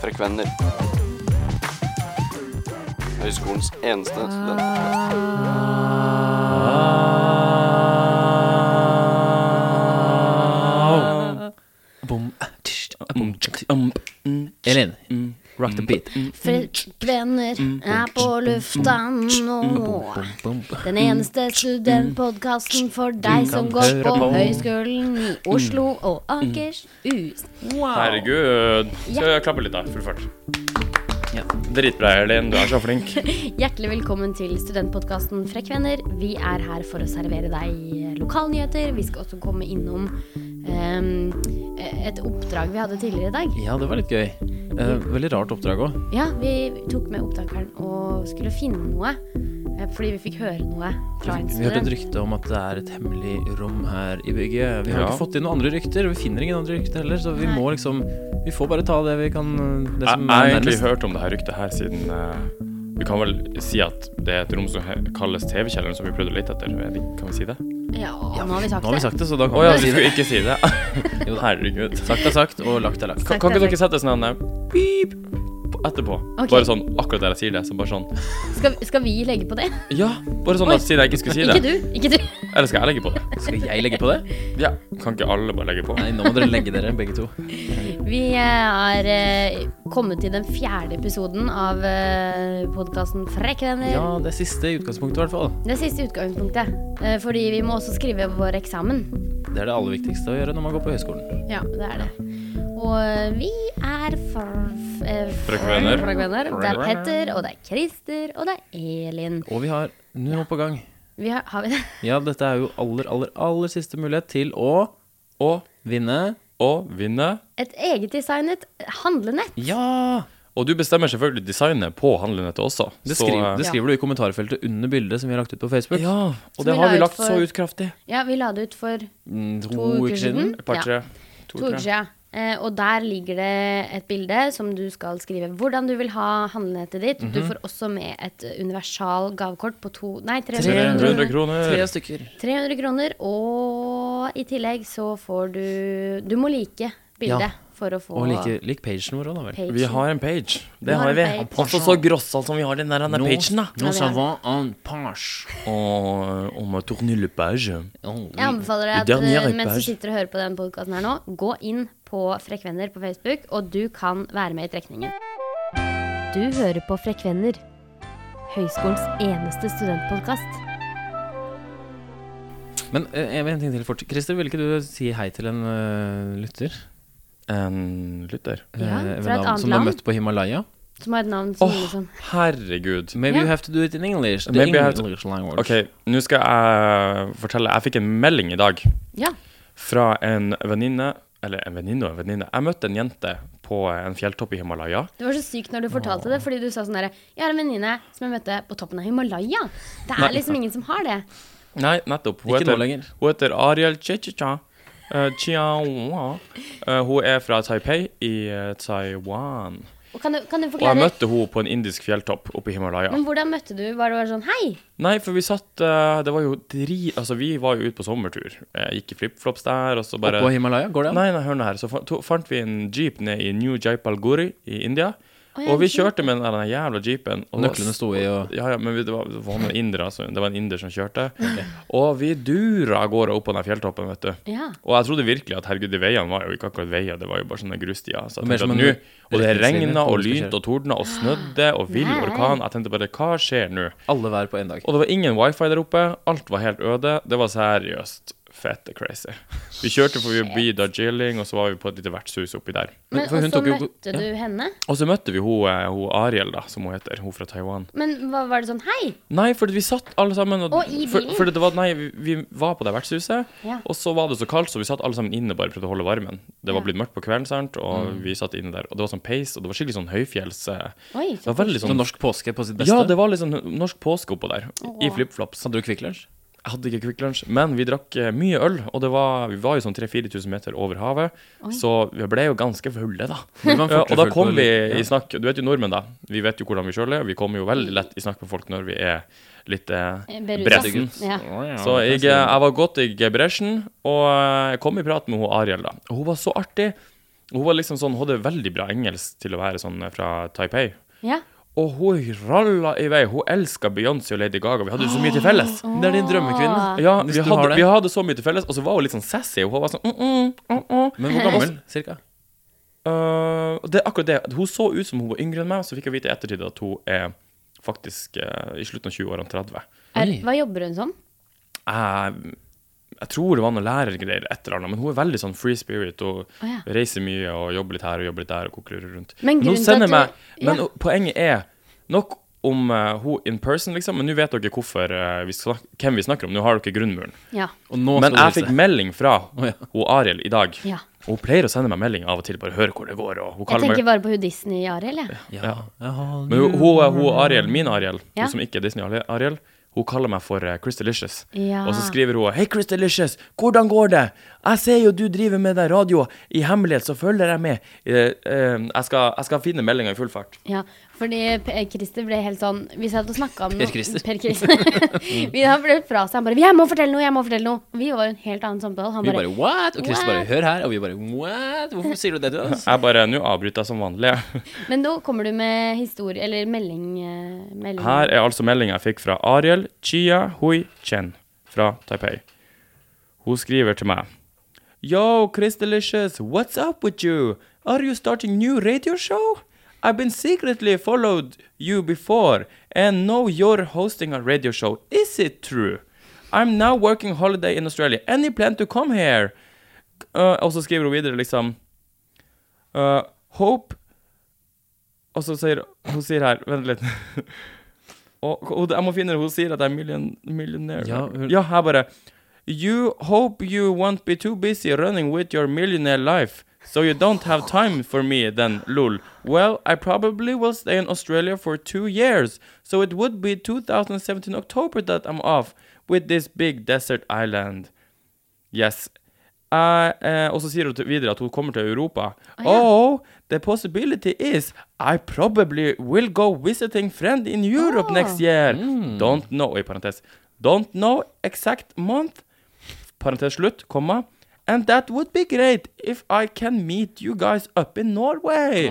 Parkvenner. Høyskolens eneste student. Bom, tsch, bom, tsk, om, mm, Elin, rock the beat. Frikkvenner Mm. er på lufta nå. Bom, Den eneste studentpodkasten for deg som går Mm. høre på på. Mm. Høgskolen i Oslo og Akershus. Herregud. Skal jeg klappe litt, da? Full fart. Ja. Dritbra, Elin. Du er så flink. Hjertelig velkommen til studentpodkasten Frekkvenner. Vi er her for å servere deg lokalnyheter. Vi skal også komme innom ehm, et oppdrag vi hadde tidligere i dag. ja, det var litt gøy. Eh, veldig rart oppdrag òg. Ja, vi tok med opptakeren og skulle finne noe. eh, Fordi vi fikk høre noe fra en Vi hørte et student. rykte om at det er et hemmelig rom her i bygget. Vi har Ja. ikke fått inn noen andre rykter, og vi finner ingen andre rykter heller, så vi Nei. må liksom Vi får bare ta det vi kan eh, Det Jeg som jeg har er egentlig nærmest. hørt om det her ryktet her siden eh, Vi kan vel si at det er et rom som he- kalles TV-kjelleren, som vi prøvde å lete etter. Er det- Kan vi si det? Ja, nå har vi Nå har vi sagt det. sagt det, så da Å kan ja, vi vi si det. skulle ikke si det. Jo da. Herregud. Sagt er sagt, og lagt er lagt. Sagt Kan ikke er dere sette sånn her beep på- etterpå? Ok. Bare sånn akkurat der jeg sier det. Så bare sånn Skal, skal vi legge på det? Ja! Bare sånn Oi. at siden jeg ikke skulle si Ikke det. du. Ikke du. Eller skal jeg legge på det? Skal jeg legge på det? Ja. Kan ikke alle bare legge på? Nei, nå må dere legge dere, begge to. Vi er eh, kommet til den fjerde episoden av eh, podkasten Frekkvenner. Ja, det siste i utgangspunktet, i hvert fall. Det er siste utgangspunktet, eh, fordi vi må også skrive vår eksamen. Det er det aller viktigste å gjøre når man går på høyskolen. Ja, det er det. Og eh, vi er for- f- eh, Frekkvenner. Frekkvenner. Det er Petter, og det er Christer, og det er Elin. Og vi har nå på gang. Vi har, har vi det? Ja, dette er jo aller, aller, aller siste mulighet til å Og, vinne. og vinne. Et eget designet handlenett. Ja! Og du bestemmer selvfølgelig designet på handlenettet også. Det, Så, skriver, eh, det skriver du i kommentarfeltet under bildet som vi har lagt ut på Facebook. Ja, Som og det vi har la vi ut lagt for- så ut kraftig. Ja, vi la det ut for Mm, To, To uker uker siden. siden. Et par, Ja. tre. To, to uker tre. siden. Eh, Og der ligger det et bilde som du skal skrive hvordan du vil ha handlenettet ditt. Mhm. Du får også med et universal gavekort på to, nei, 300, 300 300. Tre kroner. stykker. 300 kroner. Og i tillegg så får du Du må like bildet Ja. for å få Og like, lik pagen vår òg, da vel. pagen. Vi har en page. Vi Det har har en vi. page. Også så grossa som vi har den der denne pagen, da. Ja, det er savons en page. Og og med tournelepage. Oh, oui. Jeg anbefaler deg at Det er den jeg eh, vet mens her. du sitter og hører på den podkasten her nå, gå inn på Frekvenner på Facebook, og du kan være med i trekningen. Du hører på Frekvenner, høyskolens eneste studentpodkast. Men eh, jeg vil en ting til fort. Christer, vil ikke du si hei til en eh, lytter? En lytter. Ja, Eh, fra et navn annet som du har land. møtt på Himalaya? Som har et navn som Åh, liksom herregud. Maybe Ja. you have to do it in English. The Maybe I have to- English language. OK, nå skal jeg fortelle. Jeg fikk en melding i dag Ja. fra en venninne. Eller en venninne og en venninne. Jeg møtte en jente på en fjelltopp i Himalaya. Det var så sykt når du fortalte det, fordi du sa sånn derre Jeg har en venninne som jeg møtte på toppen av Himalaya. Det er liksom ingen som har det. Nei, nettopp. Hun Ikke nå heter- lenger. Hun heter Ariel Chichicha. eh, Chiaohua. Eh, hun er fra Taipei i eh, Taiwan. Og kan du, kan du Og jeg forklare møtte henne på en indisk fjelltopp oppe i Himalaya. Men hvordan møtte du? Var det bare sånn Hei! Nei, for vi satt eh, Det var jo dri... Altså, vi var jo ute på sommertur. Jeg gikk i flipflops der, og så bare Oppå Himalaya? Går det an? Nei, nei, hør nå her. Så fa- to, fant vi en jeep ned i New Jaipalguri i India. Å, ja, Og vi en jeep. kjørte med den der jævla jeepen. Og Nøklene sto i og Ja, ja, men vi- det var, det var noen indere, altså. Det var en inder som kjørte. Og vi dura av gårde opp på den fjelltoppen, vet du. Ja. Og jeg trodde virkelig at herregud, de veiene var jo ikke akkurat veier, det var jo bare sånne grusstier. Så Og jeg mer tenkte som at en nå, og det retningslinje regna på og hvor du skal lynt kjøre. og tordna og snødde og vill Ah. Nei. orkan. Jeg tenkte bare hva skjer nå? alle hver på én dag. Og det var ingen wifi der oppe, alt var helt øde. Det var seriøst fette crazy. Vi kjørte forbi Darjeeling, og så var vi på et lite vertshus oppi der. Men- Men, for hun og så tok jo- møtte ja. du henne. Og så møtte vi hun, eh, hun Ariel, da, som hun heter. Hun fra Taiwan. Men hva, var det sånn Hei! Nei, for vi satt alle sammen og, Og i for, bilen? for det var, Nei, vi, vi var på det vertshuset, Ja. og så var det så kaldt, så vi satt alle sammen inne og bare prøvde å holde varmen. Det var Ja. blitt mørkt på kvelden, sant, og vi satt inne der. Og det var sånn peis, og det var skikkelig sånn høyfjells... eh, Oi, Det var veldig Så sånn norsk påske på sitt beste. Ja, det var litt sånn norsk påske oppå der, i flipflops. Hadde du Kvikk Lunsj? Jeg hadde ikke Kvikk Lunsj, men vi drakk eh, mye øl, og det var, vi var jo sånn 3000-4000 meter over havet, så vi ble jo ganske fulle, da. Vi var Ja, fortere og da full på kom vi litt, ja. i snakk Du vet jo nordmenn, da. Vi vet jo hvordan vi sjøl er, og vi kommer jo veldig lett i snakk med folk når vi er litt eh, Beruset. bressen. Ja. Så jeg, eh, jeg var godt i bresjen, og eh, jeg kom i prat med hun Ariel, da. Og hun var så artig. Og hun var liksom sånn, hun hadde veldig bra engelsk til å være sånn eh, fra Taipei. Ja. Og hun ralla i vei. Hun elska Beyoncé og Lady Gaga. Vi hadde jo så mye til felles. Det er din drømmekvinne. Ja, Hvis vi du har hadde, det. vi hadde så mye til felles. Og så var hun litt sånn sassy. Hun var sånn mm, mm, mm, mm. Men hvor gammel, cirka? Øh, og det er akkurat det. Hun så ut som hun var yngre enn meg, så fikk jeg vite i ettertid at hun er faktisk eh, i slutten av 20-årene 30. Er, Oi. hva jobber hun som? Jeg, jeg tror det var noen lærergreier, et eller annet, men hun er veldig sånn free spirit og Å, ja. reiser mye og jobber litt her og jobber litt der og konkluderer rundt. Men Men, hun grunnen til sender at meg, du- men ja. poenget er nok om eh, hun in person, liksom, men nå vet dere hvorfor, eh, vi snak, hvem vi snakker om. Nå har dere grunnmuren. Ja. Og nå Men jeg skal fikk du hilse. melding fra Å, ja. hun Ariel i dag. Ja. Og hun pleier å sende meg melding av og til, bare høre hvor det går. Og hun Jeg kaller meg tenker bare på hudissen i Arild, jeg. Ja. Ja. Men hun, hun, hun Ariel, min Ariel, Ja. hun som ikke er Disney-Ariel, hun kaller meg for eh, Chris Delicious. Ja. Og så skriver hun Hei, Chris Delicious, hvordan går det? Jeg ser jo du driver med deg radio. I hemmelighet så følger jeg med. Eh, eh, jeg, skal, jeg skal finne meldinga i full fart. Ja, fordi Per Christer ble helt sånn Vi satt og snakka om noe- Per Christer. Per Christer. Vi- han ble fra seg. Han bare 'Jeg må fortelle noe! Jeg må fortelle noe!' Og Vi var i en helt annen samtale. Han Vi bare, bare what? Og Chris bare What? hør her. Og vi bare what? Hvorfor sier du det til oss? Jeg bare Nå avbryter jeg som vanlig. jeg.» Men nå kommer du med historie Eller melding. eh, melding. Her er altså meldinga jeg fikk fra Ariel Chia Hui Chen fra Taipei. Hun skriver til meg Yo, Chris Delicious, what's up with you? Are you starting new radio show? I've been secretly followed you before and know you're hosting a radio show. Is it true? I'm now working holiday in Australia. Any plan to come here? Uh, og så skriver hun videre liksom uh, Hope Og så sier hun sier her Vent litt. og, og jeg må finne det. Hun sier at jeg er million, millionaire. Ja, hun- ja, her bare You hope you won't be too busy running with your millionaire life, so you don't have time for me then, lol. Well, I probably will stay in Australia for two years, so it would be 2017 October that I'm off with this big desert island. Yes. I, eh, og så sier hun til- videre at hun kommer til Europa. Oh, the possibility is I probably will go visiting friend in Europe next Ah. year. Mm. Don't know, i parentes. Don't know exact month, parentes slutt, komma. And that would be great if I can meet you guys up in Norway. Å, det er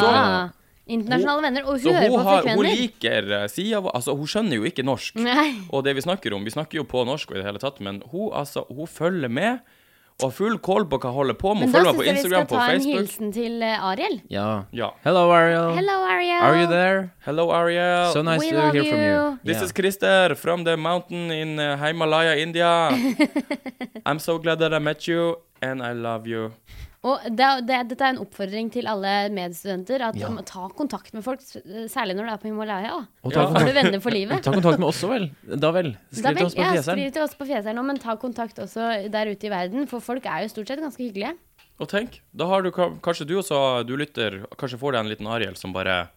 ja. da. Internasjonale venner. Og hun Så Ah. hører hun, på har, hun frekvenner. liker eh, sida vår Altså, hun skjønner jo ikke norsk. Nei. Og det vi snakker om, vi snakker jo på norsk og i det hele tatt, men hun, altså, hun følger med og har full kål på hva hun holder på med. Men Hun da syns følger meg på jeg vi skal Instagram, på ta en Facebook. hilsen til eh, Ariel. Ja. Ja. Hello, Ariel. Hello, Ariel. Are you there? Hello, Ariel. So nice We to love hear from you. you. This Yeah. is Christer from the mountain in uh, Himalaya, India. I'm so glad that I met you, and I love you. Og det, det, dette er en oppfordring til alle medstudenter. At Ja. om- Ta kontakt med folk, s- eh, særlig når du er på Himalaya. da. Og Ja. ta, Da kontakt, Har du venner for livet? ta kontakt med oss også, vel. Da vel. Da Skriv vel, til oss på ja, fjeseren. skriv til oss på Fjeseren òg, men ta kontakt også der ute i verden. For folk er jo stort sett ganske hyggelige. Og tenk, da har du ka- kanskje du også, du lytter, kanskje får deg en liten Ariel som bare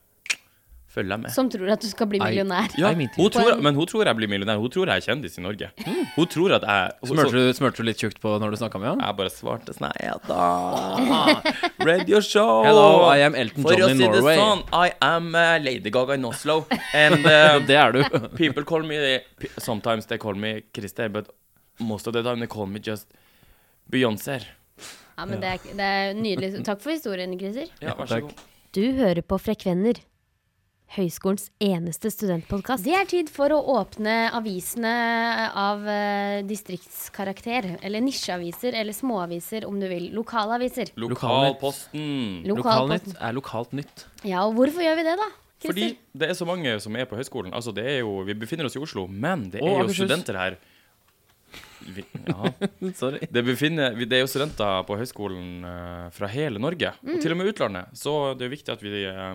følger med. Som tror at du skal bli Ai. millionær. Ja, Nei, min tid. Mm. hun tror, men hun tror jeg blir millionær. Hun tror jeg er kjendis i Norge. Hun tror at jeg hun, Smørte du, smørte du litt tjukt på når du snakka med han? Jeg bare svarte sånn Ja da. Radio show. Hello, I am Elton For John å in si det Norway. sånn, I am uh, Lady Gaga in Oslo. And uh, Det er du. people call me p- Sometimes they call me Christer, but most of the time they call me just Beyoncé. Ja, men det er, det er nydelig. Takk for historien, Christer. Ja, vær så takk. god. Du hører på Frekvenner, høyskolens eneste studentpodkast. Det er tid for å åpne avisene av eh, distriktskarakter. Eller nisjeaviser, eller småaviser om du vil. Lokalaviser. Lokalposten. Lokalnytt Lokalposten. er lokalt nytt. Ja, og hvorfor gjør vi det, da? Christer? Fordi det er så mange som er på høyskolen. Altså, det er jo, vi befinner oss i Oslo, men det er Og jo Akershus. studenter her. Vi, ja. Sorry. Det, befinner, vi- det er jo studenter på høyskolen eh, fra hele Norge, Mm. og til og med utlandet. Så det er viktig at vi eh,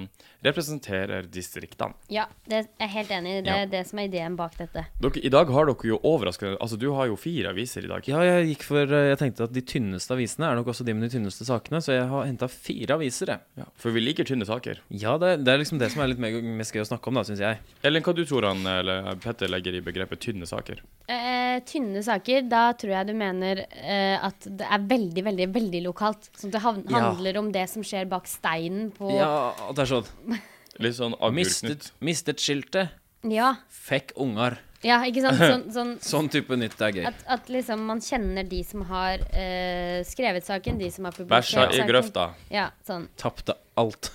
representerer distriktene. Ja, det jeg er helt enig. i. Det er Ja. det som er ideen bak dette. Dere, I dag har dere jo overraskende Altså, du har jo fire aviser i dag. Ja, jeg gikk for eh, Jeg tenkte at de tynneste avisene er nok også de med de tynneste sakene, så jeg har henta fire aviser, jeg. For vi liker tynne saker. Ja, det, det er liksom det som er litt meg- mest gøy å snakke om, da, syns jeg. Ellen, hva du tror han eller eh, Petter legger i begrepet tynne saker? Eh, tynne saker, da tror jeg du mener eh, at det er veldig, veldig veldig lokalt. Sånn at det havn- Ja. handler om det som skjer bak steinen på Ja, at det er sånn Litt sånn agurknytt. Mistet, mistet skiltet. Ja. Fikk unger. Ja, ikke sant? Sånn, sånn Sånn type nytt er gøy. at, at liksom man kjenner de som har eh, skrevet saken, de som har Bæsja publisert i saken. grøfta. Ja, sånn. Tapte alt.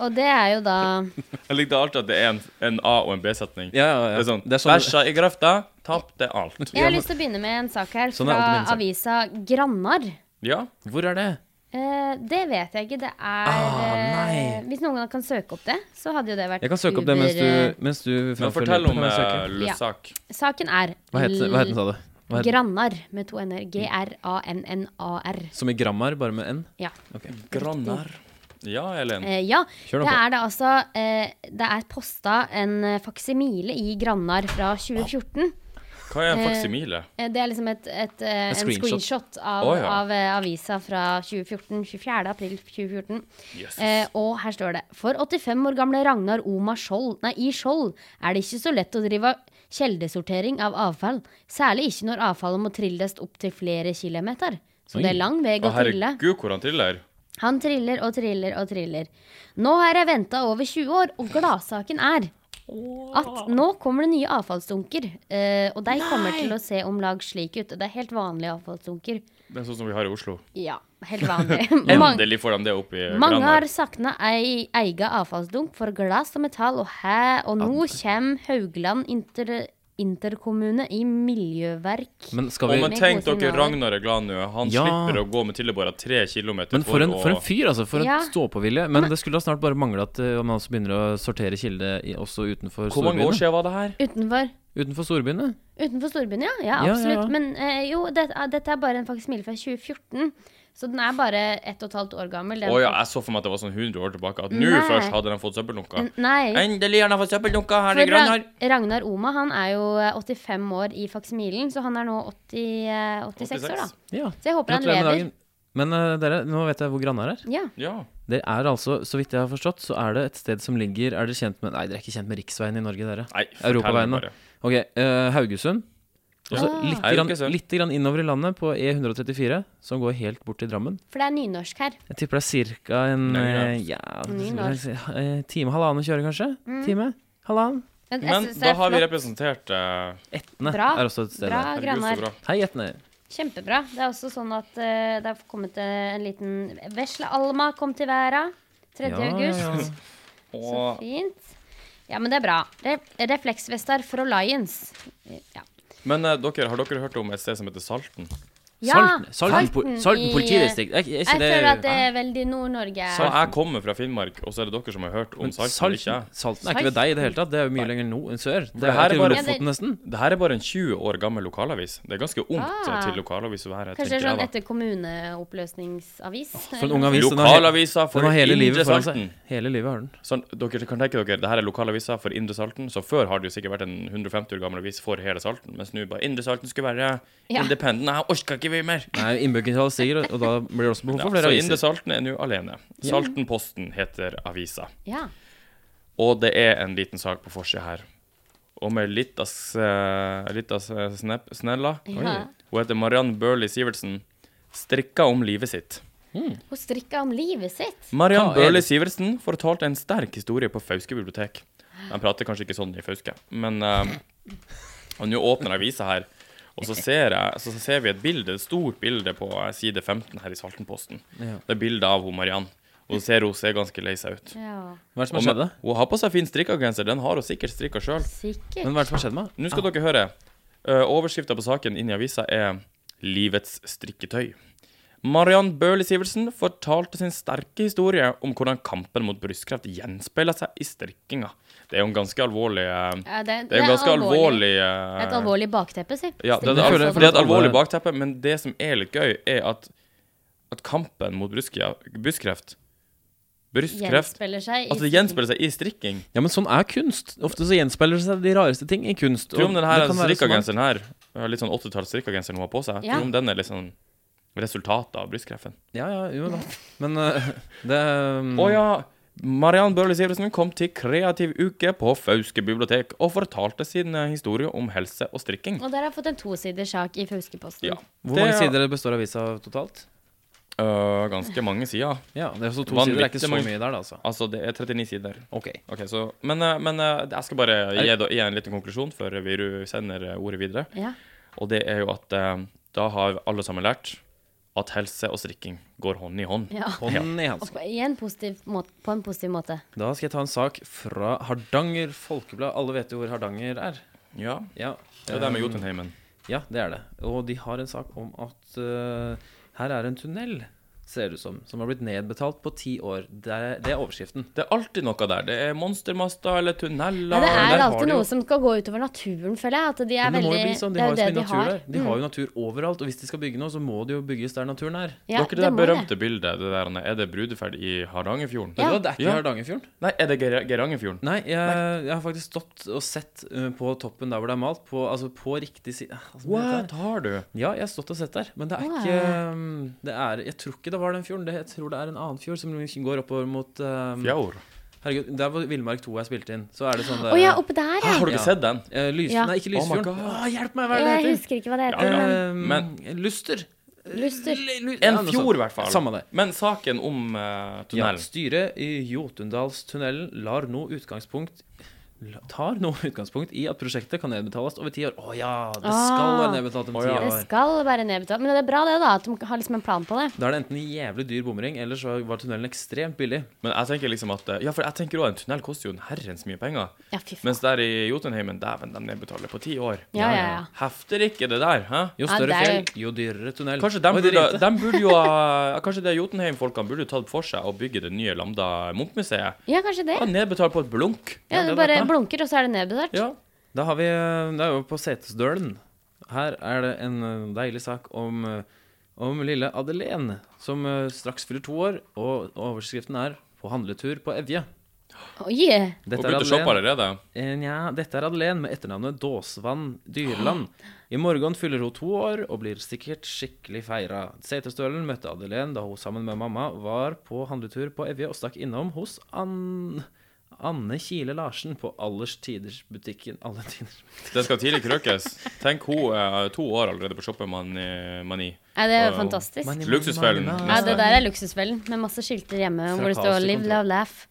Og det er jo da Jeg likte alltid at det er en, en A- og en B-setning. Ja, ja, ja. Det er sånn, Det er sånn Bæsja i grøfta, tapte alt. Jeg har lyst til å begynne med en sak her Sånn er fra alltid min sak. avisa Grannar. Ja. Hvor er det? Eh, det vet jeg ikke. Det er Ah, eh, nei. Hvis noen kan søke opp det, så hadde jo det vært Jeg kan søke opp det mens uber- du, mens du Men framfører fortell låten. om Kan jeg uh, søke? Lussak. eh, Saken er Hva het hva het den, sa du? Hva het, Grannar med to n-er. G-r-a-n-n-a-r. som i grammar, bare med n? Ja. Grannar. Ja, Elen. Eh, ja. Kjør nå det på. er da altså eh, Det er posta en eh, faksimile i Grannar fra 2014. Hva er en faksimile? Eh, det er liksom et, et, eh, en screenshot. screenshot, av, Å, ja. av eh, avisa fra 2014. 24. april 2014. Yes. Eh, og her står det For 85 år gamle Ragnar Oma Skjold Nei, i Skjold er det ikke så lett å drive kjeldesortering av avfall. Særlig ikke når avfallet må trilles opp til flere kilometer. Så det er lang vei Å, å trille. herregud, hvor han triller. Han triller og triller og triller. Nå har jeg venta over 20 år, og gladsaken er at nå kommer det nye avfallsdunker. eh, og de kommer til å se om lag slik ut. Det er helt vanlige avfallsdunker. Det er sånn som vi har i Oslo. Ja, helt vanlig. Mang- Endelig får de det opp i mange har Grannar. savna ei eiga avfallsdunk for glass og metall, og, hæ, og nå kommer Haugland inter, interkommune i miljøverk. Men skal Og vi men Med tenk gode dere signaler. Ragnar er glad nå. Han Ja. slipper å gå med trillebåra tre kilometer Men for en, for en å fyr, altså. For Ja. en ståpåvilje. Men det skulle da snart bare mangle at eh, man også begynner å sortere kilde i, også utenfor Hvor mange år storbyene. siden var det her? Utenfor. Utenfor storbyene? Utenfor storbyen, ja. Ja, Ja, ja, absolutt. ja. Men eh, jo, det, eh, dette er bare en faksimile fra 2014. Så den er bare ett og et halvt år gammel. Å Den ja, jeg så for meg at det var sånn 100 år tilbake. At nå Nei. først hadde de fått søppeldunka. N- Nei. Endelig har de fått søppeldunka her i For Rag Grannar. Ragnar Oma han er jo eh, 85 år i faksimilen, så han er nå 80, eh, 86, år, da. Ja. Så jeg håper han Gratulerer med lever. dagen. Men eh, dere, nå vet jeg hvor Grannar er. Ja. Ja. Det er altså, så vidt jeg har forstått, så er det et sted som ligger Er dere kjent med Nei, dere er ikke kjent med riksveien i Norge, dere. Nei, Europaveien, fortell meg da. bare. Ok, eh, Haugesund. Og så Ja. litt, grann, Haugesund. litt grann innover i landet, på E134, som går helt bort til Drammen. For det er nynorsk her. Jeg tipper det er ca. en Nei, ja. eh, ja, Ny hva skal jeg si, eh, time, halvannen å kjøre, kanskje? Mm. Time? Halvannen? Men, jeg Men synes det da er har vi flott. representert eh, Etne Bra. er også et sted Bra, der. herregud, så Grannar. bra. Hei, Etne. Kjempebra. Det er også sånn at eh, det har kommet eh, en liten Vesle Alma kom til verden Ja, 3. ja, august. ja. Så Og fint. Ja, men det er bra. Re refleksvester fra Lions. Ja. Men eh, dere, har dere hørt om et sted som heter Salten? Ja, Salten, Salten, po- Salten i- Salten politidistrikt. Er, ikke- er Jeg ikke det føler at det er veldig Nord-Norge. Så jeg kommer fra Finnmark, og så er det dere som har hørt om Men Salten? Salten, ikke jeg. Salten er ikke ved deg i det hele tatt. Det er jo mye lenger nord enn sør. Det det her er er ikke bare- ved Lofoten, nesten. Det her er bare en 20 år gammel lokalavis. Det er ganske ungt Ah. eh, til lokalavis å være. Kanskje det er tenker jeg sånn da. etter kommuneoppløsningsavis. For en ung avis. Den har, he- Lokalavisa for den har hele Indre livet foran seg. Salten. Hele livet har den. Sånn, dere kan tenke dere, det her er lokalavisa for Indre Salten, så før har det jo sikkert vært en 150 år gammel avis for hele Salten, mens nå bare Indre Salten skulle være Ja. independent, jeg orker ikke vi mer. Nei, Innbyggertallet stiger, og da blir det også behov Ja, for så flere Indre aviser. Salten er nå alene. Saltenposten heter avisa. Ja. Og det er en liten sak på forsida her. Og med litt av s- eh, litt av s- snep- snella. ja. Hun heter Mariann Børli Sivertsen. Strikka om livet sitt. Hun strikka om livet sitt. Mariann Hva er Børli det? Sivertsen fortalte en sterk historie på Fauske bibliotek. De prater kanskje ikke sånn i Fauske, men eh, Og nå åpner avisa her, og så ser, jeg, så ser vi et bilde, et stort bilde på eh, side 15 her i Saltenposten. Ja. Det er bilde av hun Mariann. Og så ser hun ser ganske lei seg ut. Ja, Hva er det som har Og skjedd? men- da? Hun har på seg fin strikkagenser, den har hun sikkert strikka sjøl. sikkert. Men hva er det som har skjedd med henne? Nå skal dere høre. Uh, Overskrifta på saken inn i avisa er 'Livets strikketøy'. Mariann Bøhli Sivertsen fortalte sin sterke historie om hvordan kampen mot brystkreft gjenspeiler seg i strikkinga. Det er jo en ganske alvorlig eh, Ja, det, Det er jo ganske alvorlig. alvorlig Det er eh, et alvorlig bakteppe, si. ja, det, er, Strikking et føler- jeg også, al- det altså. er at et alle- alvorlig bakteppe, men det som er litt gøy, er at, at kampen mot brystkreft Brystkreft, brystkreft Gjenspeiler seg i Altså, det strikking. gjenspeiler seg i strikking. Ja, men sånn er kunst. Ofte så gjenspeiler det seg de rareste ting i kunst. Tror du og om den her det kan være så mangt. strikkagenseren her, eh, litt sånn 80-talls strikkagenseren hun har på seg, Ja. tror du om den er litt sånn resultatet av brystkreften? Ja, ja, jo da. Men eh, det Å ja! Mariann Børli Sivertsen kom til Kreativ uke på Fauske bibliotek og fortalte sin eh, historie om helse og strikking. Og der har jeg fått en tosiders sak i Fauske-posten. Ja. Hvor mange sider består avisa av totalt? Øh, ganske mange sider. Ja, det er så to Vanvittig sider. Det er ikke så mange- mye der, da, altså. Altså, det er 39 sider. Ok. Ok, så, Men, eh, men eh, jeg skal bare gi, da, gi en liten konklusjon før vi ru- sender eh, ordet videre. Ja. Og det er jo at eh, da har alle sammen lært at helse og strikking går hånd i hånd. ja. Hånden i hansken. Og på, i en positiv måte, på en positiv måte. Da skal jeg ta en sak fra Hardanger Folkeblad. Alle vet jo hvor Hardanger er. Ja, Ja, eh, det er det med Jotunheimen. Ja, det er det. Og de har en sak om at eh, her er en tunnel, ser det ut som, som har blitt nedbetalt på ti år. Det er, det er overskriften. Det er alltid noe der. Det er monstermaster eller Ja, tunneler. det er der har alltid de jo- noe som skal gå utover naturen, føler jeg. At de er Men det må veldig jo bli sånn. De det er har jo så det mye natur har. Mm. der. De har jo natur overalt, og hvis de skal bygge noe, så må det jo bygges der naturen er. Ja, Dere, det der må berømte bildet, det der, er det brudeferd i Hardangerfjorden? Vet du Ja. hva, det er ikke Ja. Hardangerfjorden. Nei, er det Ger- Geirangerfjorden? Nei, jeg, jeg har faktisk stått og sett eh, på toppen der hvor det er malt, på, altså på riktig side altså, What har du? Ja, jeg har stått og sett der, men det er Wow. ikke um, det er, Jeg tror ikke det var den fjorden. Det, jeg tror det er en annen fjord som går oppover mot um, Fjord. Herregud, Der var Villmark 2 jeg spilte inn. Så er det sånn Å der ja, oppe der, Har ja. dere Ja. sett den? eh, lys, Ja. Nei, ikke Oh my Lysfjorden. God. Å, hjelp meg, hva er det Jeg det heter? husker ikke hva det heter. men Um, Men- Luster. Luster. L- lu- ja, En noe fjord, i sånt. hvert fall. Samme det. Men saken om eh, Ja, tunnelen styret i Jotundalstunnelen lar nå utgangspunkt la- Tar nå utgangspunkt i at prosjektet kan nedbetales over ti år. Å ja, det skal Ah. være nedbetalt om Å ti ja. år. Det skal være nedbetalt. Men det er bra det, da. At de har liksom en plan på det. Da er det enten jævlig dyr bomring, eller så var tunnelen ekstremt billig. Men jeg tenker liksom at eh, Ja, for jeg tenker også en tunnel koster jo en herrens mye penger. Ja, fy faen. Mens der i Jotunheimen, dæven, de nedbetaler på ti år. Ja, ja, ja. Hefter ikke det der, hæ? Jo Ja, større det er- fjell, jo dyrere tunnel. Kanskje de Oi, det burde, ringte. de burde jo ha Kanskje det Jotunheim-folkene burde jo tatt for seg å bygge det nye Lambda Munch-museet. Ja, kanskje det. Ja, nedbetalt på et blunk. Ja, det du er bare bra. blunker, og så er det nedbetalt. Ja. Da har vi eh, Da er vi på Setesdølen. Her er det en eh, deilig sak om eh, om lille Adelén, som eh, straks fyller to år, og overskriften er 'På handletur på Evje'. Oi, yeah. Dette og er begynte å shoppe Adelén, allerede. eh, nja, dette er Adelén med etternavnet Dåsvann Dyreland. I morgen fyller hun to år og blir sikkert skikkelig feira. Setesdølen møtte Adelén da hun sammen med mamma var på handletur på Evje og stakk innom hos Ann... Anne Kile Larsen på Allers Tiders butikken Alle Tiders Det skal tidlig krøkes. Tenk, hun er to år allerede på eh, shoppemani. Nei, det er Wow. fantastisk. Money, money, Luksusfellen. money, money. Ja, det der er luksusfellen med masse skilter hjemme Fra hvor det kaos står til 'Live, love, laugh'.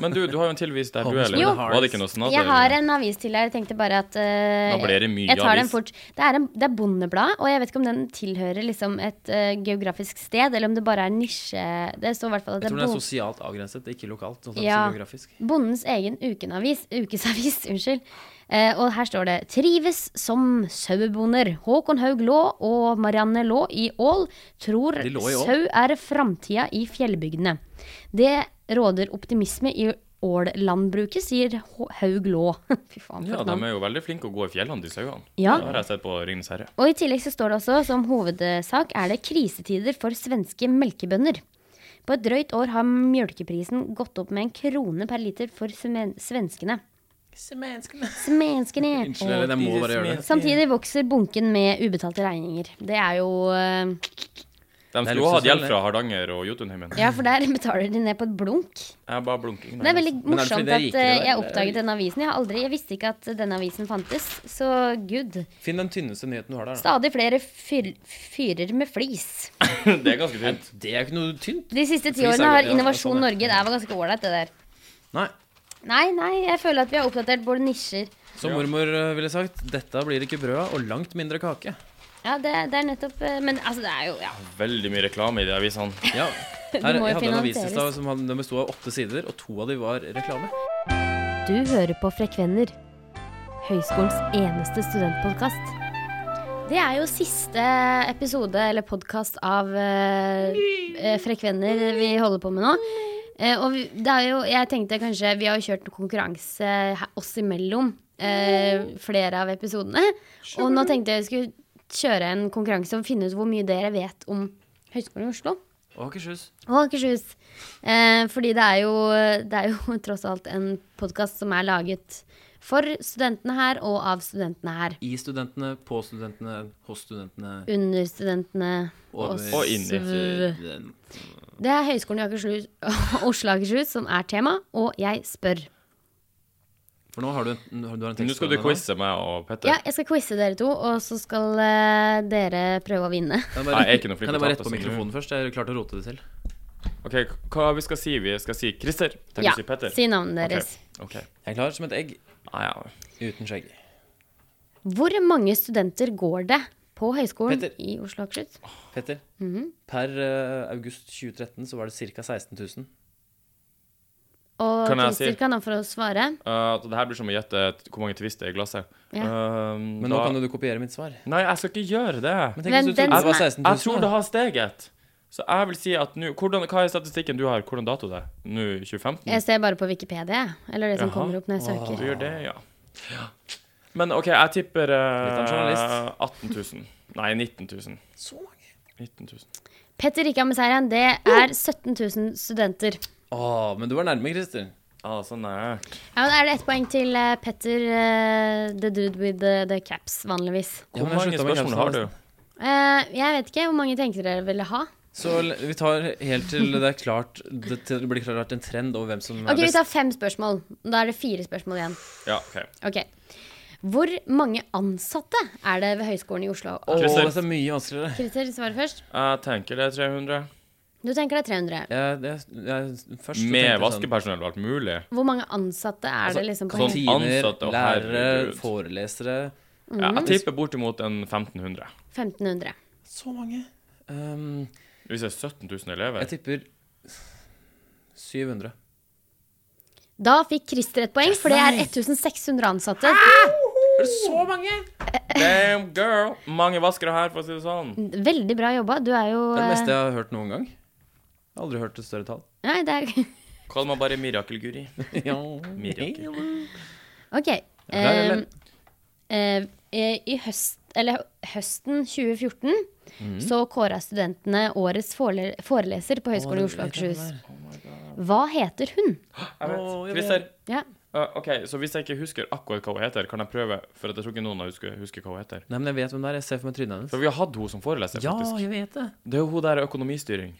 Men du, du har jo en til avis der du er, Jo. eller? Var det ikke noe snadder? Jeg har en avis til her. Jeg tenkte bare at eh, Da blir det mye Jeg tar den avis. fort. Det er, en, det er Bondebladet, og jeg vet ikke om den tilhører liksom et eh, geografisk sted, eller om det bare er nisje... Det står i hvert fall at Jeg det tror er den er bo- sosialt avgrenset, ikke lokalt. Sånn som Ja. geografisk. Bondens egen ukenavis, ukesavis. unnskyld. Eh, og her står det 'Trives som sauebonder'. Håkon Haug Lå og Marianne Lå i Ål tror De lå i Ål? sau er framtida i fjellbygdene. Det råder optimisme i Ål-landbruket, sier H- Haug Lå. Fy faen, for Ja, et de navn. er jo veldig flinke å gå i fjellene, de sauene. Ja. Det har jeg sett på Ringenes herre. Og i tillegg så står det også som hovedsak er det krisetider for svenske melkebønder. På et drøyt år har mjølkeprisen gått opp med en krone per liter for sven- svenskene. Svenskene. Unnskyld, Elin, jeg må bare gjøre det. Samtidig vokser bunken med ubetalte regninger. Det er jo eh, De er skulle ha hatt hjelp luksusfellen, fra Hardanger og Jotunheimen. Ja, for der betaler de ned på et blunk. Jeg bare blunker. Det er veldig Men er det fordi morsomt de er at rikere, eh, da? jeg oppdaget denne avisen. Jeg, har aldri, jeg visste ikke at denne avisen fantes, så good. Finn den tynneste nyheten du har der. da. Stadig flere fyr, fyrer med flis. Det er ganske tynt. Det er ikke noe tynt. De siste ti Flis er årene har godt, ja, Innovasjon sånn, ja. Norge Det var ganske ålreit, det der. Nei. Nei, nei, jeg føler at vi har oppdatert både nisjer Som mormor eh, ville sagt, dette blir ikke brød av, og langt mindre kake. Ja, det, det er nettopp eh, Men altså, det er jo ja. Veldig mye reklame i de avisene. Ja. Her, Det må jo jeg hadde en avis i finansieres. stad som hadde- den besto av åtte sider, og to av de var reklame. Du hører på Frekvenner, høyskolens eneste studentpodkast. Det er jo siste episode eller podkast av eh, eh, Frekvenner vi holder på med nå. Eh, og vi, det er jo, jeg tenkte kanskje Vi har jo kjørt en konkurranse her, oss imellom eh, flere av episodene. Og nå tenkte jeg jeg skulle kjøre en konkurranse og finne ut hvor mye dere vet om Høgskolen i Oslo. Og Akershus. Og Akershus. Eh, fordi det er, jo, det er jo tross alt en podkast som er laget for studentene her og av studentene her. I studentene, på studentene, hos studentene. Under studentene og Over- Og inni. sv- Den- Det er Høgskolen i Akershus, Oslo og Akershus som er tema, og jeg spør. For nå har du en, du har en tekst. Nå skal du foran deg nå. quize meg og Petter. Ja, jeg skal quize dere to, og så skal eh, dere prøve å vinne. Kan jeg Nei, bare, jeg er ikke noe flink kan jeg på bare tatt, rette på altså. mikrofonen først? Jeg klarte å rote det selv. Ok, Hva vi skal si? Vi skal si Christer. Tenk Ja, å si Petter. Si navnet Ok, deres. ok. Jeg er klar som et egg Ah, ja. uten skjegg. Hvor mange studenter går det på Høgskolen Petter. i Oslo og Akershus? Petter, Mhm. per eh, august 2013 så var det ca. 16 000. Og Kan jeg Christer si? kan han få svare. Uh, så det her blir som å gjette et- hvor mange Twist det er i glasset. Um, Men nå da- kan jo du kopiere mitt svar. Nei, jeg skal ikke Men gjøre det. tenk Men hvis du den trodde det var som er- 16 000. Jeg tror det har steget. Så jeg vil si at nå hvordan, Hva er statistikken du har? Hvordan dato det er? Nå 2015? Mm. Jeg ser bare på Wikipedia, jeg. eller det som Jaha. kommer opp når jeg Du søker. gjør det, ja. Men OK, jeg tipper Litt av en uh, journalist. 18 000. Nei, 19 000. Så mange. 19 000. Petter Rikard med seieren, det er 17 000 studenter. Å, men du var nærme, Christer. Ah, så nært. Ja, men er det ett poeng til eh, Petter, eh, the dude with the, the caps, vanligvis? Ja, men Hvor jeg mange slutta med spørsmål har capsen. du? Eh, jeg vet ikke. Hvor mange tenkte dere ville ha? Så l- vi tar helt til det er klart det, til det blir klart en trend over hvem som er Ok, Vi best. tar fem spørsmål. Da er det fire spørsmål igjen. Ja, OK. Ok. Hvor mange ansatte er det ved Høgskolen i Oslo? Åh, Christer. dette er mye vanskeligere. Krister, svare først. Jeg tenker det er 300. Du tenker det er 300. Jeg, jeg, jeg, først sånn så tenkte Med jeg vaskepersonell og alt mulig. Hvor mange ansatte er det liksom på sånn, Høgskolen? sånn Kantiner, ansatte, å lærere, herregud. forelesere Ja, jeg tipper bortimot en 1500. sånn- 1500. Så mange. Ehm, Hvis det er 17 000 elever jeg tipper 700. Da fikk Krister et poeng, for det er 1600 ansatte. Ah! Er det så mange? Damn girl! Mange vaskere her, for å si det sånn. Veldig bra jobba. Du er jo Det er det meste eh, jeg har hørt noen gang. Jeg har aldri hørt et større tall. Nei, det er Kall meg bare Mirakel-Guri. ja. Mirakel. OK. eller- Ehm, eh, I høst, eller høsten 2014 Mhm. så kåra studentene årets forele foreleser på Høgskolen i Oslo og Akershus. Hva heter hun? Jeg vet. Åh, jeg Christer, Ja. øh, OK, så hvis jeg ikke husker akkurat hva hun heter, kan jeg prøve? For at jeg tror ikke noen av husker, husker hva hun heter. Nei, men jeg vet hvem det er. Jeg ser for meg trynet hennes. For vi har hatt henne som foreleser, Ja, faktisk. jeg vet det. Det er jo hun der økonomistyring.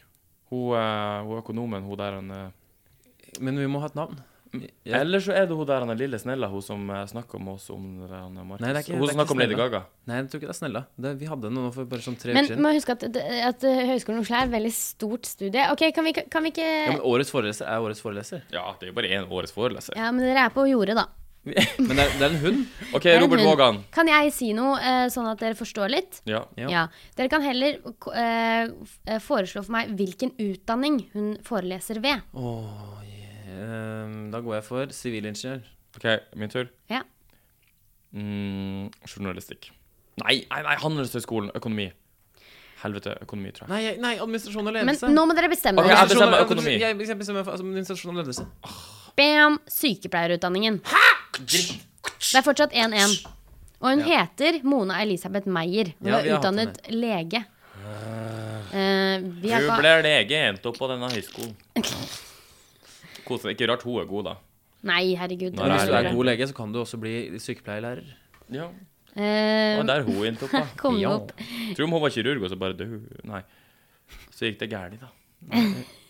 Hun, øh, hun økonomen, hun der han øh. Men vi må ha et navn. Mm. Ja. Eller så er det hun der han er lille snella, hun som uh, snakker med oss om det der han er Markus. Nei, det er ikke- hun det er som snakker ikke om Lady Snella. Gaga. Nei, jeg tror ikke det er Snella. Det, vi hadde noe for bare sånn tre Men uker siden. må huske at, at Høgskolen i Oslo er et veldig stort studie. Ok, Kan vi, kan vi ikke Ja, men årets foreleser er årets foreleser. Ja, det er jo bare én årets foreleser. Ja, men dere er på jordet, da. Men det er, det er en hund. OK, Det er en Robert hund. Vågan. Kan jeg si noe, eh, sånn at dere forstår litt? Ja. Ja. Dere kan heller k- eh, f- eh, foreslå for meg hvilken utdanning hun foreleser ved. Ehm, da går jeg for sivilingeniør. OK, min tur. Ja. Mm, journalistikk. Nei, nei, nei Handelshøyskolen. Økonomi. Helvete, økonomi, tror jeg. Nei, jeg- nei, administrasjon og Men ledelse. nå må dere bestemme Ok, dere. jeg bestemmer økonomi. Jeg, jeg bestemmer for altså, administrasjon og ledelse. Bam! Sykepleierutdanningen. Det er fortsatt 1-1. Og hun heter Mona Elisabeth Meyer. Hun Ja, er vi har hatt utdannet lege. Eh, vi har Hun ikke- ble lege jente opp på denne høyskolen. Kose deg. Ikke rart hun er god, da. Nei, herregud. Nei, Men det hvis er du nei. er god lege, så kan du også bli sykepleierlærer. Ja. Eh, Og der er hun inntok, da. kom Ja. opp. Tror om hun var kirurg, og så bare døde hun. Nei. Så gikk det gærent, da.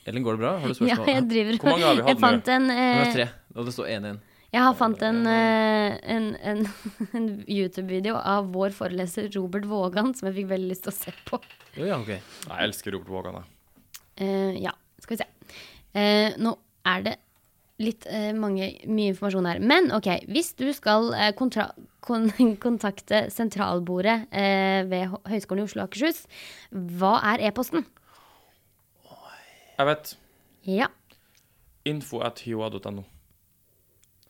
Ellen, går det bra? Har du Ja, spørsmål? jeg driver Hvor mange har vi hatt Jeg fant en Det eh, var tre, og det står 1-1. Jeg har fant en, eh, en, en, en YouTube-video av vår foreleser Robert Vågan som jeg fikk veldig lyst til å se på. Jo, ja, ok. Jeg elsker Robert Vågan, da. Eh, ja, skal vi se. Eh, nå er det litt eh, mange, mye informasjon her. Men ok, hvis du skal eh, kontra, kon, kontakte sentralbordet eh, ved Hø- Høgskolen i Oslo og Akershus, hva er e-posten? Jeg vet. Ja. Info at hioa.no.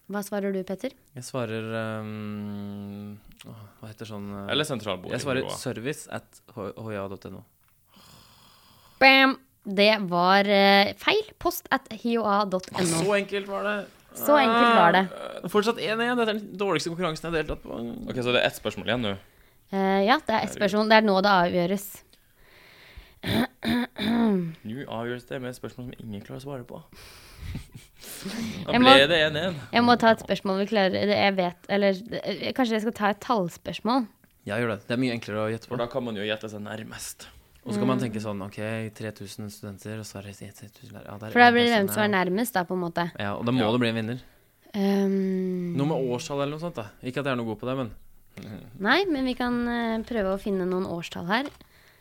Hva svarer du, Petter? Jeg svarer ehm, åh, Hva heter sånn eh, Eller sentralbordet. Jeg svarer Hioa. service at hja.no. Bam! Det var eh, feil. Post at hioa.no. enkelt var det. Eh, Så enkelt var det. Fortsatt 1-1. Dette er den dårligste konkurransen jeg har deltatt på. OK, så det er ett spørsmål igjen nå. Eh, ja, det er ett spørsmål. Det er nå det avgjøres. Nå avgjøres det med et spørsmål som ingen klarer å svare på. Da Jeg må- ble det 1-1. Jeg må ta et spørsmål vi klarer det- Jeg vet Eller eh, kanskje jeg skal ta et tallspørsmål. Jeg gjør det. Det er mye enklere å gjette på. Mm. For da kan man jo gjette seg nærmest. Og så kan man tenke sånn OK, 3000 studenter, og så er det 3000 lærere. Ja, det er For da en blir det person, hvem som er ja. nærmest, da, på en måte. Ja, og da må det bli en vinner. Ehm, Noe med årstall eller noe sånt. da Ikke at jeg er noe god på det, men nei, men vi kan eh, prøve å finne noen årstall her.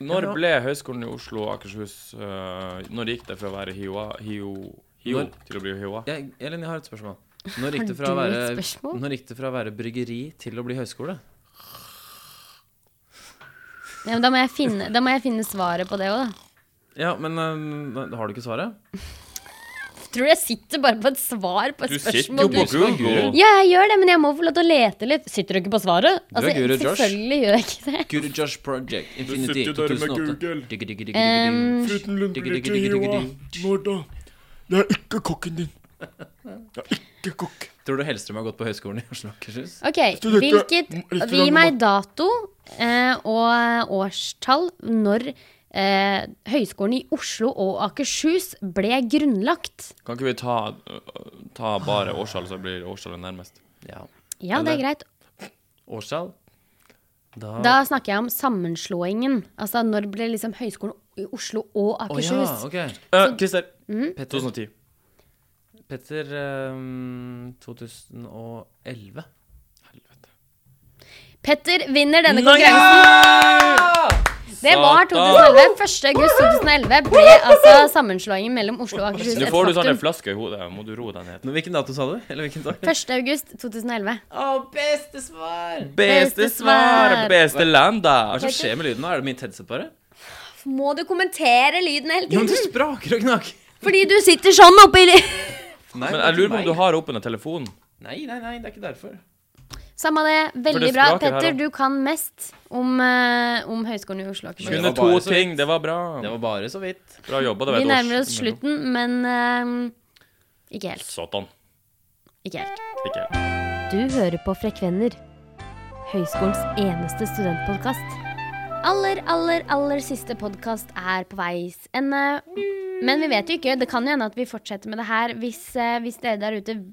Når ble Høgskolen i Oslo og Akershus eh, Når gikk det fra å være HiO, HiO, HiO Når- til å bli HiOA? jeg, Elin, jeg har et spørsmål. Når Har gikk det fra å du et være, spørsmål? når gikk det fra å være bryggeri til å bli høyskole? Ja, men da, må jeg finne, da må jeg finne svaret på det òg, da. Ja, men eh, har du ikke svaret? Tror du jeg sitter bare på et svar på et Du sitter jo spørsmål? på du- Google! Ja, jeg gjør det, men jeg må få lov til å lete litt. Sitter du ikke på svaret? Altså, er guru, Josh. selvfølgelig gjør jeg ikke det. Guru Josh Project sitter Infinity jo der med 2008. Google. Diggi, diggi, diggi, diggi, diggi. Ehm, Uten Når da? Jeg er ikke kokken din. Jeg er ikke kokk. Tror du Hellstrøm har gått på høyskolen i Oslo og Akershus? ok, Studerte- hvilket Restaurant- Gi meg dato eh, og årstall når eh, Høgskolen i Oslo og Akershus ble grunnlagt. Kan ikke vi ta, øh, ta bare årstall, så blir årstallet nærmest? Ja. Ja, det er Eller- greit. Årstall? Da, Da snakker jeg om sammenslåingen. Altså når ble liksom Høgskolen i Oslo og Å Akershus ja, ok. Eh, Christer. Mm. Petter, 2010. Petter ehm, 2011. Petter vinner denne konkurransen. Det var 2011. 1. august 2011 ble altså sammenslåingen mellom Oslo og Akershus Nå et får du sånn en faktum. flaske i hodet. Må du roe deg ned? Nå, hvilken dato sa du? Eller hvilken dag? 1. august 2011. Å, beste svar! Beste svar, beste land, Hva da. er det som skjer med lyden nå? Er det mitt headset bare? Må du kommentere lyden hele Jo, men du tiden? spraker og gnager! Fordi du sitter sånn oppi li- Nei, Men jeg lurer på om du har åpna telefonen. Nei, nei, nei, det er ikke derfor. Samme det. For det Veldig bra. spraker her Petter, også. du kan mest om, eh, om Høgskolen i Oslo og Akershus. Men- Kunne det var to bare så ting. vidt. Det var bra. Det var bare så vidt. Bra jobba. Det var Vi et nærmer års. oss slutten, men eh, ikke helt. Satan. Ikke helt. Ikke helt. Du hører på Frekvenner, høyskolens eneste studentpodkast. Aller, aller, aller siste podkast er på veis ende. Men vi vet jo ikke. Det kan jo hende at vi fortsetter med det her. Hvis, eh, hvis dere der ute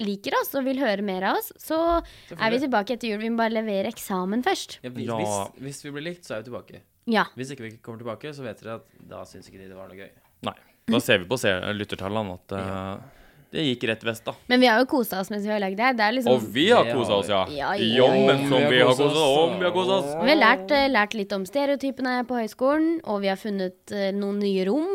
liker oss og vil høre mer av oss, så er vi tilbake etter jul. Vi må bare levere eksamen først. Ja, vi, Ja. Hvis, hvis vi blir likt, så er vi tilbake. Ja. Hvis ikke vi ikke kommer tilbake, så vet dere at da syns ikke de det var noe gøy. Nei. Da ser vi på se lyttertallene at eh, det gikk rett vest, da. Men vi har jo kosa oss mens vi har lagd det her. Det er liksom Og vi har Det kosa har oss, ja. Ja, ja, ja. Jommen som vi har kosa koset oss. oss. Om vi har kosa oss. Vi har lært, eh, lært litt om stereotypene på høyskolen, og vi har funnet eh, noen nye rom.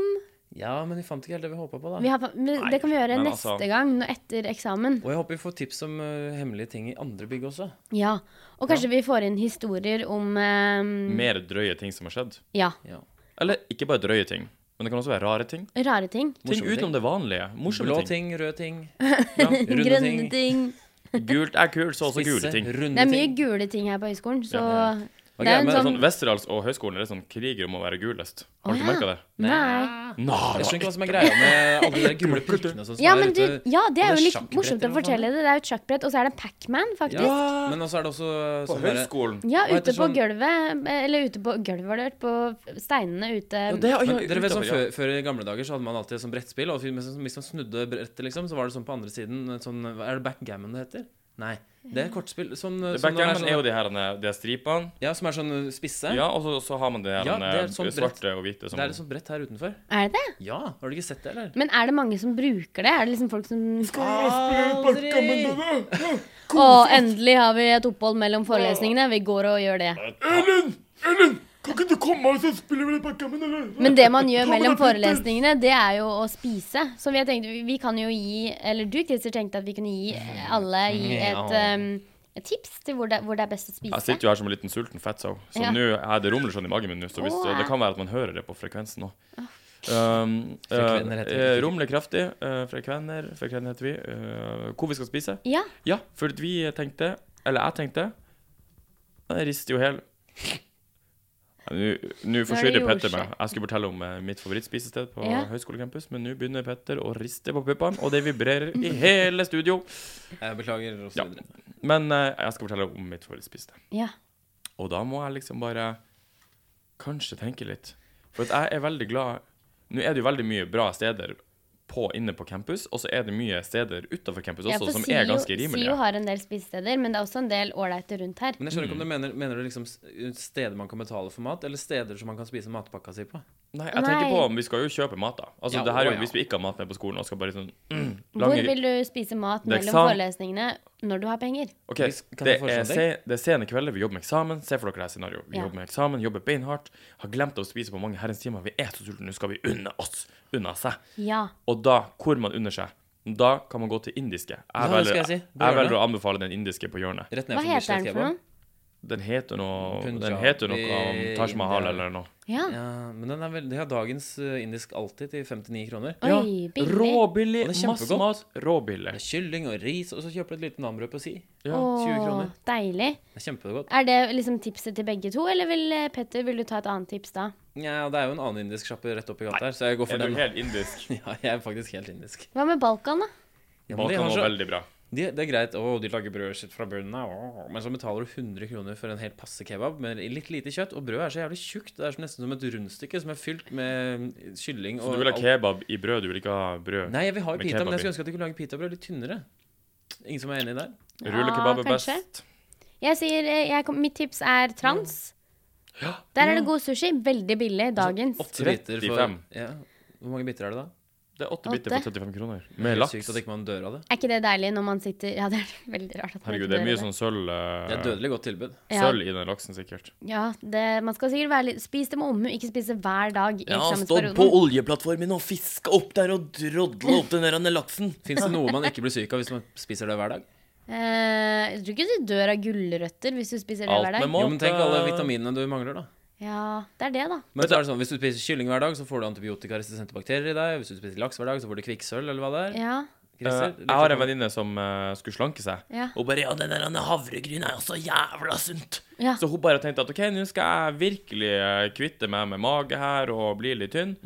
Ja, men vi fant ikke helt det vi håpa på, da. Vi har, men det kan vi gjøre men neste altså- gang, nå etter eksamen. Og jeg håper vi får tips om eh, hemmelige ting i andre bygg også. Ja, og kanskje vi får inn historier om eh, Mer drøye ting som har skjedd. ja, Ja. Eller ikke bare drøye ting, men det kan også være rare ting. rare ting. Ting Morsomme ting. utenom det vanlige. Morsomme Blå ting, ting. røde ting. Ja, runde Grønne ting. Gult er kult, så også gule spisse, ting. runde Det er mye ting. gule ting her på høyskolen, så Ja, det er Ok, en men sånn Sånn, Westerdals og høyskolen er sånn kriger om å være gulest. Har Å, du ikke ja. merka det? Nei. Jeg skjønner ikke hva som er greia med alle de der gule prikkene og sånn. som Ja, er men du, ute. ja, det er Og det er jo litt sjakkbrett morsomt å eller noe fortelle det. Det er jo et sjakkbrett, og så er det Pac-Man, faktisk. Ja, men også er det også eh, På sånn derre- høyskolen. Ja, Hva heter ute på sånn- gulvet. Eller ute på gulvet, var det hørt. På steinene ute. Ja, det er- ja, Men dere vet sånn, utover, ja. før, før i gamle dager så hadde man alltid sånn brettspill, og hvis man- hvis man snudde brettet, liksom, så var det sånn på andre siden eh, sånn, hva Er det backgammon det heter? Nei. Det er kortspill. Sånn, eh, som når Det det Backgammon er er jo sånn, de her de her stripene. ja, som er sånn eh, spisse. Ja, og så, så har man de her Ja, det er eh, sånn brett. svarte og hvite Det sånn. som er sånn- et sånt brett her utenfor. Er det det? Ja, har du ikke sett det, eller? Men er det mange som bruker det? Er det liksom folk som Aldri! Å, endelig har vi et opphold mellom forelesningene. Vi går og gjør det. Kan ikke du komme og så spiller vi litt backgammon, eller? Men det man gjør mellom forelesningene, det er jo å spise. Så vi tenkte, vi- vi kan jo gi Eller du, Christer, tenkte at vi kunne gi eh, alle gi et, Ja. um, et tips til hvor det, hvor det er best å spise. Jeg sitter jo her som en liten sulten fettsau, så Ja. nå er det rumler sånn i magen min. nå, Så hvis, Åh. det kan være at man hører det på frekvensen òg. Um, Frekvenner heter det. eh, rumler kraftig. eh, frekvenner, frekvenner heter vi. eh, hvor vi skal spise. Ja. Ja, for at vi tenkte, eller jeg tenkte Jeg rister jo hel. Ja, nå- Nå det forstyrrer Petter jordskjelv. meg. Jeg skulle fortelle om eh, mitt favorittspisested på Ja. høyskolecampus, men nå begynner Petter å riste på puppene, og det vibrerer i hele studio. Jeg beklager og så Ja. videre. Men eh, jeg skal fortelle om mitt favorittspisested. ja. Og da må jeg liksom bare kanskje tenke litt. For at jeg er veldig glad Nå er det jo veldig mye bra steder på, inne på campus, og så er det mye steder utafor campus Ja, også, for som SIO er ganske rimelige. SIO har en del spisesteder, men det er også en del ålreite rundt her. Men jeg skjønner ikke om du mener, mener du liksom s- steder man kan betale for mat, eller steder som man kan spise matpakka si på? Nei, jeg tenker på Nei. om vi skal jo kjøpe mat, da. Altså, Ja, det her er å, jo ja. hvis vi ikke har mat med på skolen og skal bare sånn mm, Hvor Lange- vil du spise mat Det er mellom eksamen. forelesningene når du har penger? Ok, Vi s- kan det jeg foreslå er, en ting? se, det er sene kvelder, vi jobber med eksamen. Se for dere det her scenarioet. Vi Ja. jobber med eksamen, jobber beinhardt. Har glemt å spise på mange herrens timer. Vi er så sultne, nå skal vi unne oss. Unna seg. Ja. Og da, hvor man unner seg, da kan man gå til indiske. Jeg det skal velger, jeg si. jeg, På hjørnet. velger å anbefale den indiske på hjørnet. Rett ned Hva for heter den for noe? Den heter noe, den Punjabi- heter noe om Taj Mahal eller noe. Ja. Ja, men den er vel, det er dagens eh, indisk alltid til 59 kroner. Oi, billig. Råbillig. Og det er Masse kjempegodt. mat. Det Råbillig. er kylling og ris, og så kjøper du et lite nambrød på si. Ja, Åh, 20 kroner. Deilig. Det er kjempegodt. Er det liksom tipset til begge to, eller vil eh, Petter, vil du ta et annet tips da? Ja, det er jo en annen indisk sjappe rett oppi gata her, så jeg går for Er den. du helt indisk? Ja, jeg er faktisk helt indisk. Hva med Balkan, da? Ja, men de har Balkan var så, veldig bra. de, det er greit. Å, de lager brødet sitt fra bunnen av. åh, Men så betaler du 100 kroner for en helt passe kebab med litt lite kjøtt. Og brødet er så jævlig tjukt. Det er som nesten som et rundstykke som er fylt med kylling Så og du vil ha alt. kebab i brød, du vil ikke ha brød? Nei, jeg vil ha med pita, men kebab i. jeg skulle ønske at de kunne lage pitabrød litt tynnere. Ingen som er enig der? Ja, Rullekebab er kanskje. best. Jeg sier, eh, jeg, kom- Mitt tips er trans. Der er det god sushi. Veldig billig. Altså, Dagens. Åtte biter for 35. ja. Hvor mange biter er det da? Det er åtte biter Åtte. for 35 kroner. Med Helt laks. Sykt at ikke man dør av det. Er ikke det deilig når man sitter Ja, det er veldig rart. At man Herregud, ikke det er dør mye av sånn sølv eh, Det er et dødelig godt tilbud. Ja. Sølv i den laksen, sikkert. Ja, det, man skal sikkert være litt Spis det med omhu, ikke spise hver dag i eksamensperioden. oljeplattformen og fiska opp der og drodla opp den der laksen. Eh, Fins det noe man ikke blir syk av hvis man spiser det hver dag? Eh, jeg tror ikke du dør av gulrøtter hvis du spiser det Alt hver dag. med må- Jo, men tenk alle vitaminene du mangler, da. Ja, det er det, da. Men så er det sånn, Hvis du spiser kylling hver dag, så får du antibiotikaresistente bakterier i deg. Hvis du spiser laks hver dag, så får du kvikksølv, eller hva det er. Ja, Christer, Eh, jeg har en venninne som eh, skulle slanke seg. ja. Og bare ja, den der den havregryn er også jævla sunt. ja. Så hun bare tenkte at OK, nå skal jeg virkelig eh, kvitte meg med mage her og bli litt tynn.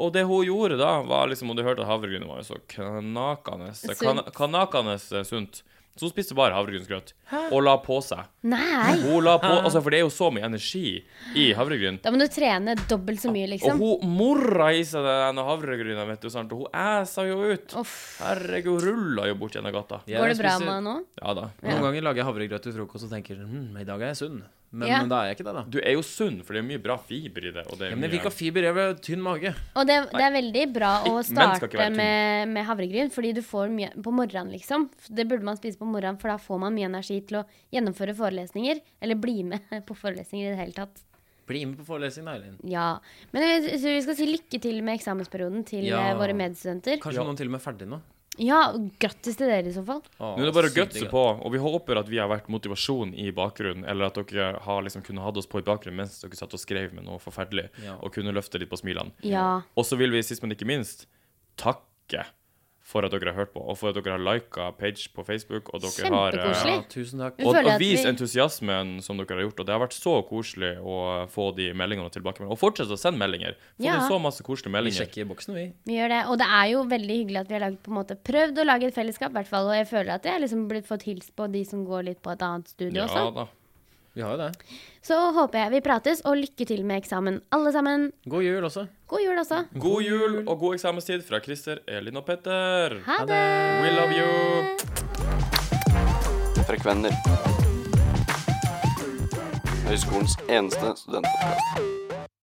Og det hun gjorde da, var liksom Hun hadde hørt at havregrynet var jo så knakende kan, Sunt. Kanakende eh, sunt. Så hun spiste bare havregrynsgrøt. Og la på seg. Nei! Hun la på, altså For det er jo så mye energi i havregryn. Da må du trene dobbelt så mye, liksom. Og hun morra i seg den havregryna, vet du, sant? og hun æsa jo ut. Uff. Herregud, rulla jo bort gjennom gata. Jeg Går det bra spiser- med deg nå? Ja da. Noen ganger lager jeg havregrøt til frokost og tenker hm, i dag er jeg sunn. Men Ja. da er jeg ikke det, da. Du er jo sunn, for det er mye bra fiber i det. Og det er Men jeg mye... fikk av fiber, jeg ble tynn mage. Og det, det er veldig bra å Ikke- men skal ikke starte være tynn. med, med havregryn, fordi du får mye på morgenen, liksom. Det burde man spise på morgenen, for da får man mye energi til å gjennomføre forelesninger. Eller bli med på forelesninger i det hele tatt. Bli med på forelesning, da, Eileen. Ja. Men jeg sy- synes vi skal si lykke til med eksamensperioden til Ja. eh, våre medstudenter. Kanskje noen til og med er ferdig nå. Ja, grattis til dere i så fall. Å, Nå er det bare å sykt gutse digg, på, og vi håper at vi har vært motivasjon i bakgrunnen, eller at dere har liksom kunne hatt oss på i bakgrunnen mens dere satt og skrev med noe forferdelig, Ja. og kunne løfte litt på smilene. Ja. Og så vil vi sist, men ikke minst, takke for at dere har hørt på, og for at dere har lika page på Facebook, og dere har eh, da. Kjempekoselig. Ja, tusen takk. Vi Og, føler og at vis vi- entusiasmen som dere har gjort. Og det har vært så koselig å få de meldingene tilbake. Og fortsett å sende meldinger. Få Ja. inn så masse Vi koselige meldinger. sjekker boksen, vi. Vi gjør det. Og det er jo veldig hyggelig at vi har laget, på en måte, prøvd å lage et fellesskap, i hvert fall. Og jeg føler at jeg har liksom blitt fått hilst på de som går litt på et annet sånn. studie Ja også. da. Vi har jo det. Så håper jeg vi prates, og lykke til med eksamen, alle sammen. God jul også. God jul også. God jul og god eksamenstid fra Christer, Elin og Petter. Ha det! We love you. Frekvenner. Høyskolens eneste studentpodkast.